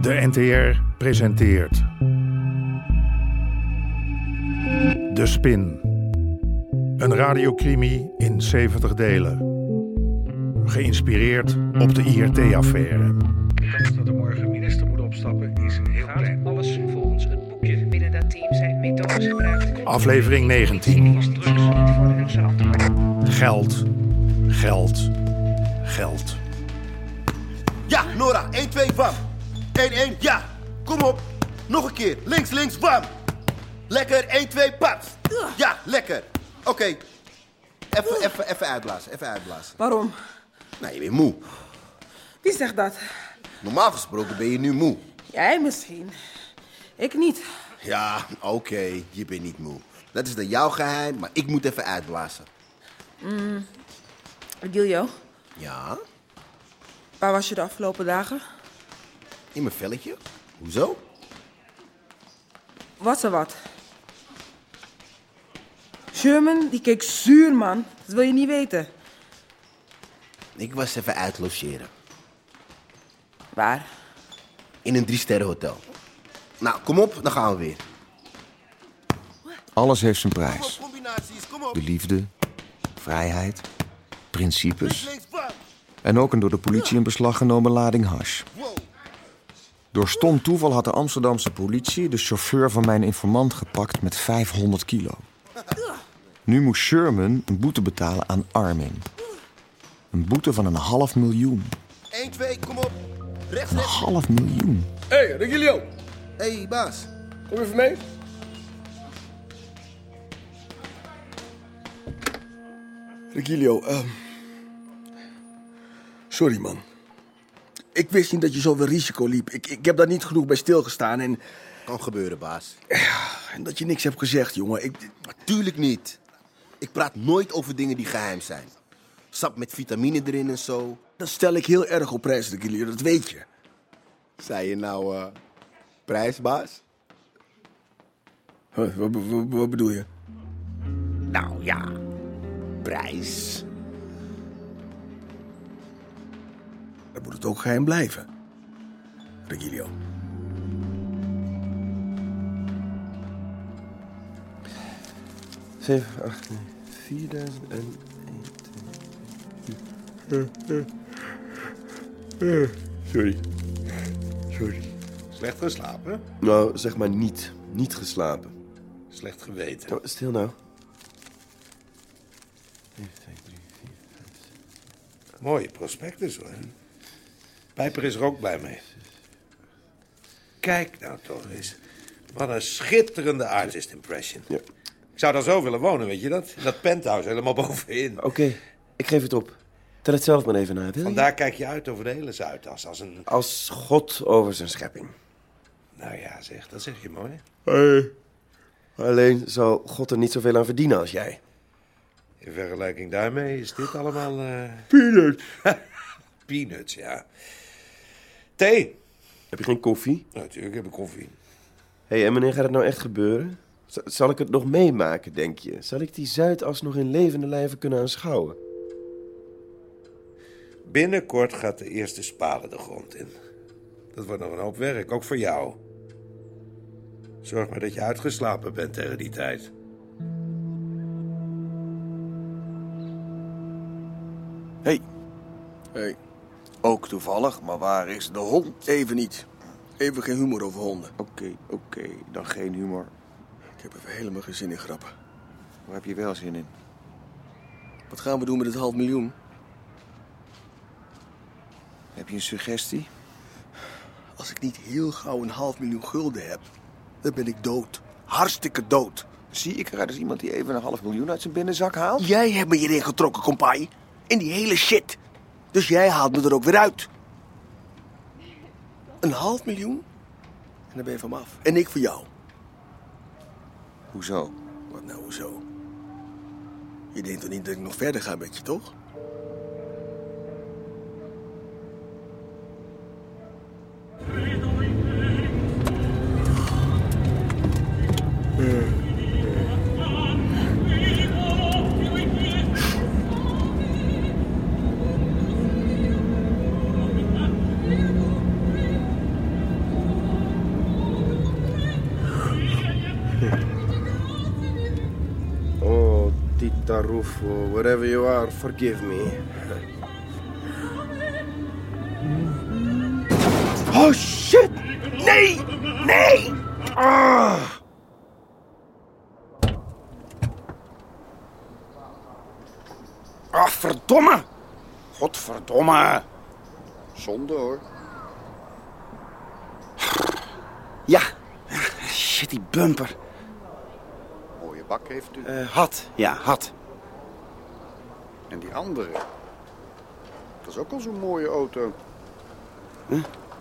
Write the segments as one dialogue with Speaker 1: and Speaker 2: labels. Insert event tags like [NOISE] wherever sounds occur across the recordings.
Speaker 1: De NTR presenteert. De Spin. Een radiocrimi in 70 delen. Geïnspireerd op de IRT-affaire.
Speaker 2: De kans dat er morgen minister moet opstappen is heel klein.
Speaker 3: Alles volgens het boekje. Binnen dat team zijn methodes gebruikt.
Speaker 1: Aflevering 19.
Speaker 3: Als drugs niet voor hun zand.
Speaker 1: Geld. Geld. Geld.
Speaker 4: Ja, Nora. 1, 2, bam. 1, 1, ja. Kom op. Nog een keer. Links, links, bam. Lekker. 1, 2, paps. Ja, lekker. Oké. Even, even, even uitblazen. Even uitblazen.
Speaker 5: Waarom?
Speaker 4: Nou, je bent moe.
Speaker 5: Wie zegt dat?
Speaker 4: Normaal gesproken ben je nu moe.
Speaker 5: Jij misschien. Ik niet.
Speaker 4: Ja, oké. Je bent niet moe. Dat is dan jouw geheim, maar ik moet even uitblazen.
Speaker 5: Giljo,
Speaker 4: Ja?
Speaker 5: waar was je de afgelopen dagen?
Speaker 4: In mijn velletje? Hoezo?
Speaker 5: Was er wat? Sherman, die keek zuur, man. Dat wil je niet weten.
Speaker 4: Ik was even uitlogeren.
Speaker 5: Waar?
Speaker 4: In een drie-sterren hotel. Nou, kom op. Dan gaan we weer.
Speaker 6: Alles heeft zijn prijs.
Speaker 4: combinaties. Kom op.
Speaker 6: De liefde, vrijheid, principes.
Speaker 4: links, bam.
Speaker 6: En ook een door de politie in beslag genomen lading hash.
Speaker 4: Wow.
Speaker 6: Door stom toeval had de Amsterdamse politie de chauffeur van mijn informant gepakt met 500 kilo. Nu moest Sherman een boete betalen aan Armin. Een boete van een half miljoen.
Speaker 4: 1, 2, kom op. Rechts,
Speaker 6: Een
Speaker 4: rechts.
Speaker 6: half miljoen.
Speaker 7: Hé, hey, Regilio,
Speaker 4: Hé, hey, baas.
Speaker 7: kom even mee. Regilio, ehm, sorry man. Ik wist niet dat je zoveel risico liep. Ik, ik heb daar niet genoeg bij stilgestaan en,
Speaker 4: Kan gebeuren, baas.
Speaker 7: en dat je niks hebt gezegd, jongen. Ik,
Speaker 4: Tuurlijk niet. Ik praat nooit over dingen die geheim zijn. Sap met vitamine erin en zo.
Speaker 7: dat stel ik heel erg op prijs, Regilio, dat weet je.
Speaker 4: Zei je nou eh, prijsbaas?
Speaker 7: Huh, wat, wat- wat bedoel je?
Speaker 4: Nou ja, prijs.
Speaker 7: Dan moet het ook geheim blijven. Regilio. Zeven, acht, vierduizend en... Sorry. Sorry.
Speaker 8: Slecht geslapen?
Speaker 7: Nou, zeg maar niet. Niet geslapen.
Speaker 8: Slecht geweten.
Speaker 7: Nou, stil nou.
Speaker 8: Mooie prospectus hoor. Pijper is er ook blij mee. Kijk nou toch eens. Wat een schitterende artist impression.
Speaker 9: Ja.
Speaker 8: Ik zou daar zo willen wonen, weet je dat? In dat penthouse helemaal [LAUGHS] bovenin.
Speaker 9: Oké, ik geef het op. Tel het zelf maar even na. Wil je?
Speaker 8: Vandaar kijk je uit over de hele Zuidas als een...
Speaker 9: Als God over zijn schepping.
Speaker 8: Nou ja, zeg, dat zeg je mooi.
Speaker 9: Alleen zal God er niet zoveel aan verdienen als jij.
Speaker 8: In vergelijking daarmee is dit allemaal... eh,
Speaker 9: Peanut.
Speaker 8: [LAUGHS] peanuts, ja. Thee?
Speaker 9: Heb je geen koffie?
Speaker 8: Natuurlijk heb ik koffie.
Speaker 9: Hé, hey, en wanneer gaat het nou echt gebeuren? Z- zal ik het nog meemaken, denk je? Zal ik die Zuidas nog in levende lijven kunnen aanschouwen?
Speaker 8: Binnenkort gaat de eerste spade de grond in. Dat wordt nog een hoop werk, ook voor jou. Zorg maar dat je uitgeslapen bent tegen die tijd.
Speaker 7: Hey. Hey. Ook toevallig, maar waar is de hond? Even niet. Even geen humor over honden.
Speaker 6: Oké, oké, dan geen humor.
Speaker 7: Ik heb even helemaal geen zin in grappen.
Speaker 6: Waar heb je wel zin in?
Speaker 7: Wat gaan we doen met het half miljoen?
Speaker 6: Heb je een suggestie?
Speaker 7: Als ik niet heel gauw een half miljoen gulden heb, dan ben ik dood. Hartstikke dood.
Speaker 6: Zie ik eruit als iemand die even een half miljoen uit zijn binnenzak haalt?
Speaker 7: Jij hebt me hierin getrokken, compaai. In die hele shit. Dus jij haalt me er ook weer uit. Een half miljoen? En dan ben je van me af. En ik van jou.
Speaker 6: Hoezo?
Speaker 7: Wat nou zo? Je denkt toch niet dat ik nog verder ga met je, toch? Rufo, Oh, wherever you are, forgive me. Oh shit! Nee! Nee! Ah! Ah, verdomme! Godverdomme! Zonde hoor. Ja, shit, die bumper.
Speaker 10: Mooie bak heeft u.
Speaker 7: Eh, had, ja, had.
Speaker 10: En die andere. Dat is ook al zo'n mooie auto.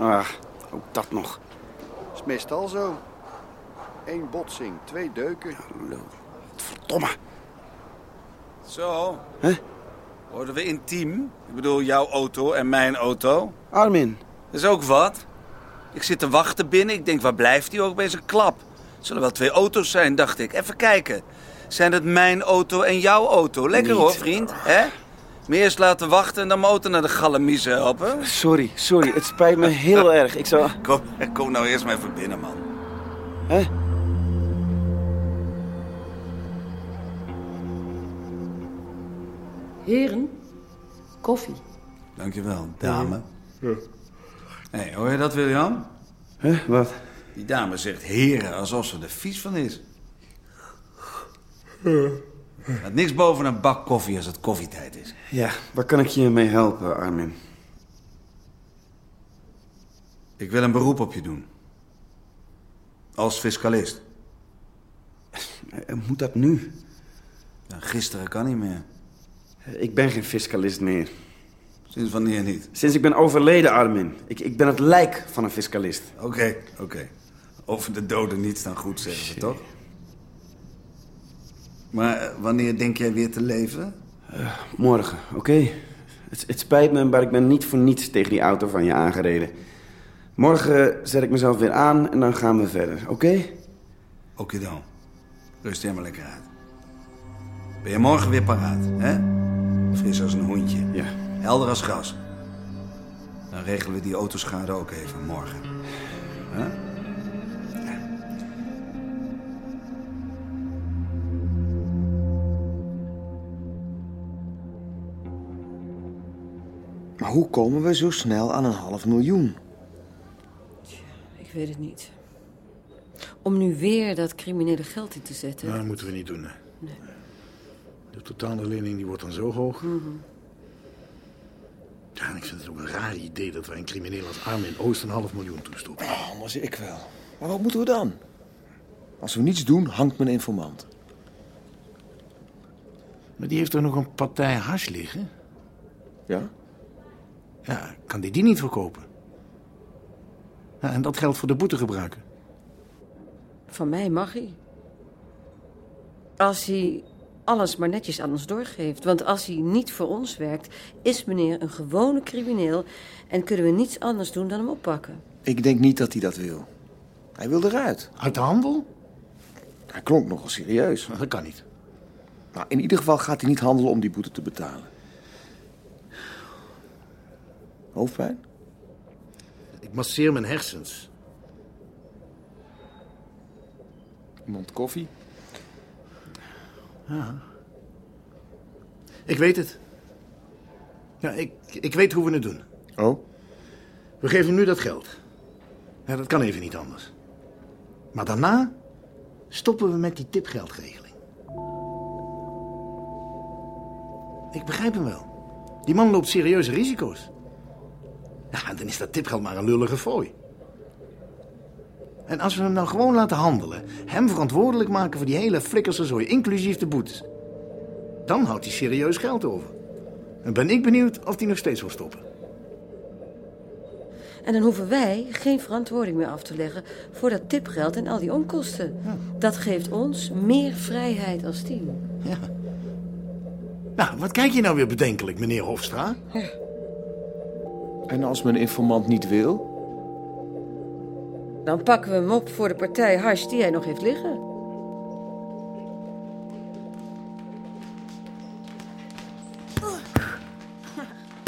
Speaker 7: Ah, ook dat nog.
Speaker 10: Is meestal zo. Eén botsing, twee deuken.
Speaker 7: Verdomme.
Speaker 8: Zo.
Speaker 7: Hè?
Speaker 8: Worden we intiem? Ik bedoel, jouw auto en mijn auto.
Speaker 7: Armin.
Speaker 8: Dat is ook wat. Ik zit te wachten binnen. Ik denk, waar blijft die ook bij zijn klap? Het zullen wel twee auto's zijn, dacht ik. Even kijken. Zijn het mijn auto en jouw auto? Lekker
Speaker 7: Niet.
Speaker 8: hoor, vriend. Hè? Me eerst laten wachten en dan mijn auto naar de galamiezen helpen.
Speaker 7: Sorry, sorry. Het spijt me heel erg. Ik zou...
Speaker 8: Kom, kom nou eerst maar even binnen, man.
Speaker 7: Hè?
Speaker 11: Heren, koffie.
Speaker 8: Dankjewel, dame. Hé, hoor je dat, William?
Speaker 7: Hè? Wat?
Speaker 8: Die dame zegt heren, alsof ze er vies van is. Gaat niks boven een bak koffie als het koffietijd is.
Speaker 7: Ja, waar kan ik je mee helpen, Armin?
Speaker 8: Ik wil een beroep op je doen. Als fiscalist.
Speaker 7: Eh, Moet dat nu?
Speaker 8: Ja, gisteren kan niet meer.
Speaker 7: Ik ben geen fiscalist meer.
Speaker 8: Sinds wanneer niet?
Speaker 7: Sinds ik ben overleden, Armin. Ik, ik ben het lijk van een fiscalist.
Speaker 8: Oké, oké. Over de doden niets dan goed zeggen ze toch? Maar eh, wanneer denk jij weer te leven?
Speaker 7: Morgen, oké? Het, het spijt me, maar ik ben niet voor niets tegen die auto van je aangereden. Morgen eh, zet ik mezelf weer aan en dan gaan we verder, oké?
Speaker 8: Oké dan. Rust jij maar lekker uit. Ben je morgen weer paraat, hè? Fris als een hondje.
Speaker 7: Ja.
Speaker 8: Helder als gras. Dan regelen we die autoschade ook even morgen. Hè?
Speaker 6: Maar hoe komen we zo snel aan een half miljoen?
Speaker 11: Ik weet het niet. Om nu weer dat criminele geld in te zetten.
Speaker 4: Nou, dat moeten we niet doen. hè. De totale lening die wordt dan zo hoog. Ja, en ik vind het ook een raar idee dat wij een crimineel als Armin Oost een half miljoen toestoppen.
Speaker 6: Anders ik wel. Maar wat moeten we dan? Als we niets doen, hangt mijn informant.
Speaker 4: Maar die heeft er nog een partij hash liggen.
Speaker 6: Ja?
Speaker 4: Ja, kan die die niet verkopen? Ja, en dat geld voor de boete gebruiken.
Speaker 11: Van mij mag hij. Als hij alles maar netjes aan ons doorgeeft. Want als hij niet voor ons werkt, is meneer een gewone crimineel en kunnen we niets anders doen dan hem oppakken.
Speaker 6: Ik denk niet dat hij dat wil. Hij wil eruit.
Speaker 4: Uit de handel?
Speaker 6: Hij klonk nogal serieus.
Speaker 4: Dat kan niet.
Speaker 6: Maar in ieder geval gaat hij niet handelen om die boete te betalen. Hoofdpijn?
Speaker 4: Ik masseer mijn hersens.
Speaker 6: Iemand koffie?
Speaker 4: Ja. Ik weet het. Ja, ik, ik weet hoe we het doen.
Speaker 6: Oh?
Speaker 4: We geven hem nu dat geld. Ja, dat kan even niet anders. Maar daarna stoppen we met die tipgeldregeling. Ik begrijp hem wel. Die man loopt serieuze risico's. Ja, dan is dat tipgeld maar een lullige fooi. En als we hem nou gewoon laten handelen, hem verantwoordelijk maken voor die hele flikkerse zooi, inclusief de boetes, dan houdt hij serieus geld over. En ben ik benieuwd of hij nog steeds wil stoppen.
Speaker 11: En dan hoeven wij geen verantwoording meer af te leggen voor dat tipgeld en al die onkosten. Dat geeft ons meer vrijheid als team.
Speaker 4: Ja. Nou, wat kijk je nou weer bedenkelijk, meneer Hofstra?
Speaker 6: En als mijn informant niet wil?
Speaker 11: Dan pakken we hem op voor de partij hash die hij nog heeft liggen.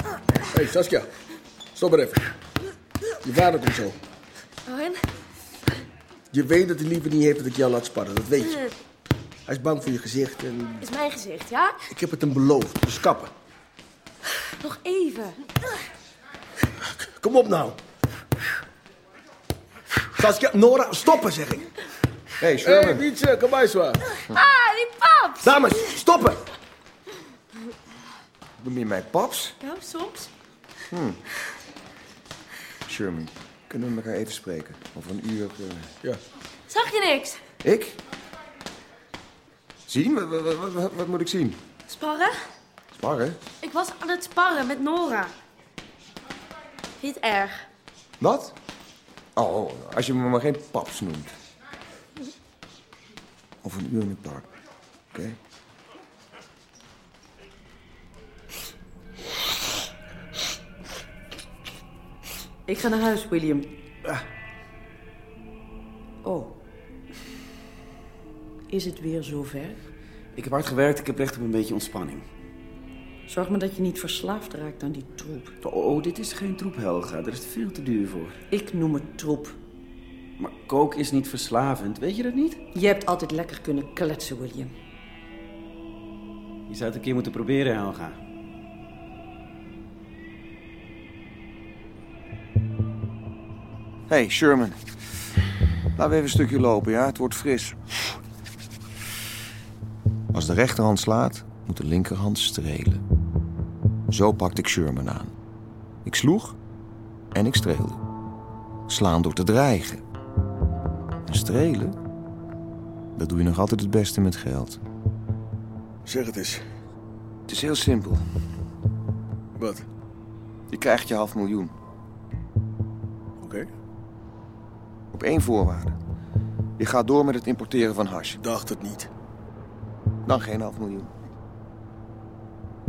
Speaker 12: Hé, hey, Saskia. Stop maar even. Je vader komt zo.
Speaker 13: Oh, en?
Speaker 12: Je weet dat hij liever niet heeft dat ik jou laat sparren. Dat weet je.
Speaker 4: Hij is bang voor je gezicht en
Speaker 8: Hmm. Is mijn gezicht, ja?
Speaker 4: ik heb het hem beloofd. Dus kappen.
Speaker 8: Nog even.
Speaker 4: Kom op nou. Saskia, Nora, stoppen zeg ik.
Speaker 14: Hey,
Speaker 4: Sherman. Hey, Wietse, kom bij zwaar.
Speaker 8: Ah, die paps!
Speaker 4: Dames, stoppen.
Speaker 6: Noem je mij paps?
Speaker 8: Nou, soms.
Speaker 6: Hm. Sherman, kunnen we elkaar even spreken? Over een uur... eh,
Speaker 4: Ja.
Speaker 8: Zag je niks?
Speaker 6: Ik? Zien? Wat, wat- wat- wat- wat moet ik zien?
Speaker 8: Sparren?
Speaker 6: Sparren?
Speaker 8: Ik was aan het sparren met Nora. Niet erg.
Speaker 6: Wat? Oh, als je me maar geen paps noemt. Of een uur in het park. Oké?
Speaker 11: Ik ga naar huis, William. Oh. Is het weer zover?
Speaker 7: Ik heb hard gewerkt, ik heb recht op een beetje ontspanning.
Speaker 11: Zorg maar dat je niet verslaafd raakt aan die troep.
Speaker 7: Oh, dit is geen troep, Helga. Daar is het veel te duur voor.
Speaker 11: Ik noem het troep.
Speaker 7: Maar kook is niet verslavend, weet je dat niet?
Speaker 11: Je hebt altijd lekker kunnen kletsen, William.
Speaker 7: Je zou het een keer moeten proberen, Helga.
Speaker 6: hey, Sherman. Laten we even een stukje lopen, ja? Het wordt fris. Als de rechterhand slaat, moet de linkerhand strelen. Zo pakte ik Sherman aan. Ik sloeg en ik streelde. Slaan door te dreigen. En strelen? Dat doe je nog altijd het beste met geld.
Speaker 4: Zeg het eens.
Speaker 6: Het is heel simpel.
Speaker 4: Wat?
Speaker 6: Je krijgt je half miljoen.
Speaker 4: Oké.
Speaker 6: Op één voorwaarde. Je gaat door met het importeren van hash.
Speaker 4: Dacht het niet.
Speaker 6: Dan geen half miljoen.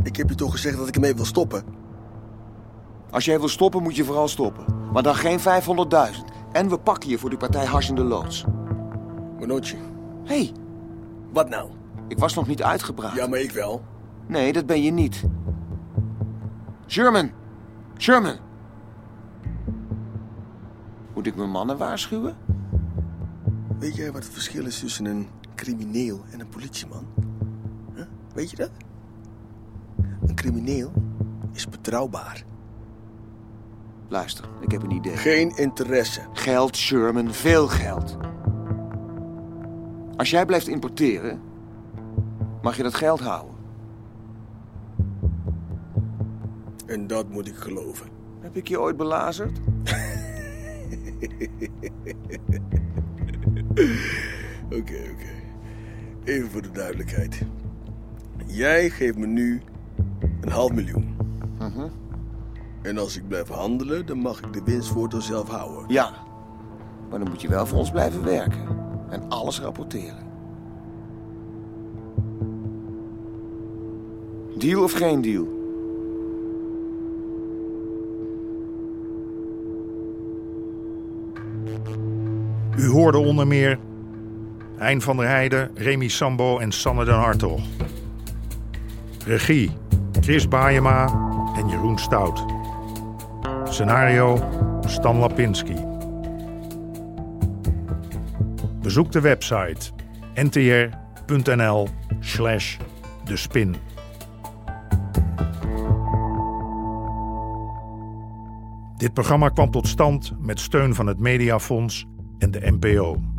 Speaker 4: Ik heb je toch gezegd dat ik ermee wil stoppen?
Speaker 6: Als jij wil stoppen, moet je vooral stoppen. Maar dan geen 500.000. En we pakken je voor die partij hash in de loods.
Speaker 4: Manotje.
Speaker 6: Hé. Hey.
Speaker 4: Wat nou?
Speaker 6: Ik was nog niet uitgepraat.
Speaker 4: Ja, maar ik wel.
Speaker 6: Nee, dat ben je niet. Sherman! Sherman! Moet ik mijn mannen waarschuwen?
Speaker 4: Weet jij wat het verschil is tussen een crimineel en een politieman? Huh? Weet je dat? Een crimineel is betrouwbaar.
Speaker 6: Luister, ik heb een idee.
Speaker 4: Geen interesse.
Speaker 6: Geld, Sherman, veel geld. Als jij blijft importeren, mag je dat geld houden.
Speaker 4: En dat moet ik geloven.
Speaker 6: Heb ik je ooit belazerd?
Speaker 4: Oké, oké. Even voor de duidelijkheid. Jij geeft me nu een half miljoen.
Speaker 6: Mhm.
Speaker 4: En als ik blijf handelen, dan mag ik de winst voortaan zelf houden.
Speaker 6: Ja. Maar dan moet je wel voor ons blijven werken. En alles rapporteren. Deal of geen deal?
Speaker 1: U hoorde onder meer Hein van der Heijden, Remy Sambo en Sanne den Hartog. Regie Chris Baayema en Jeroen Stout. Scenario Stan Lapinski. Bezoek de website ntr.nl slash de spin. Dit programma kwam tot stand met steun van het Mediafonds en de NPO.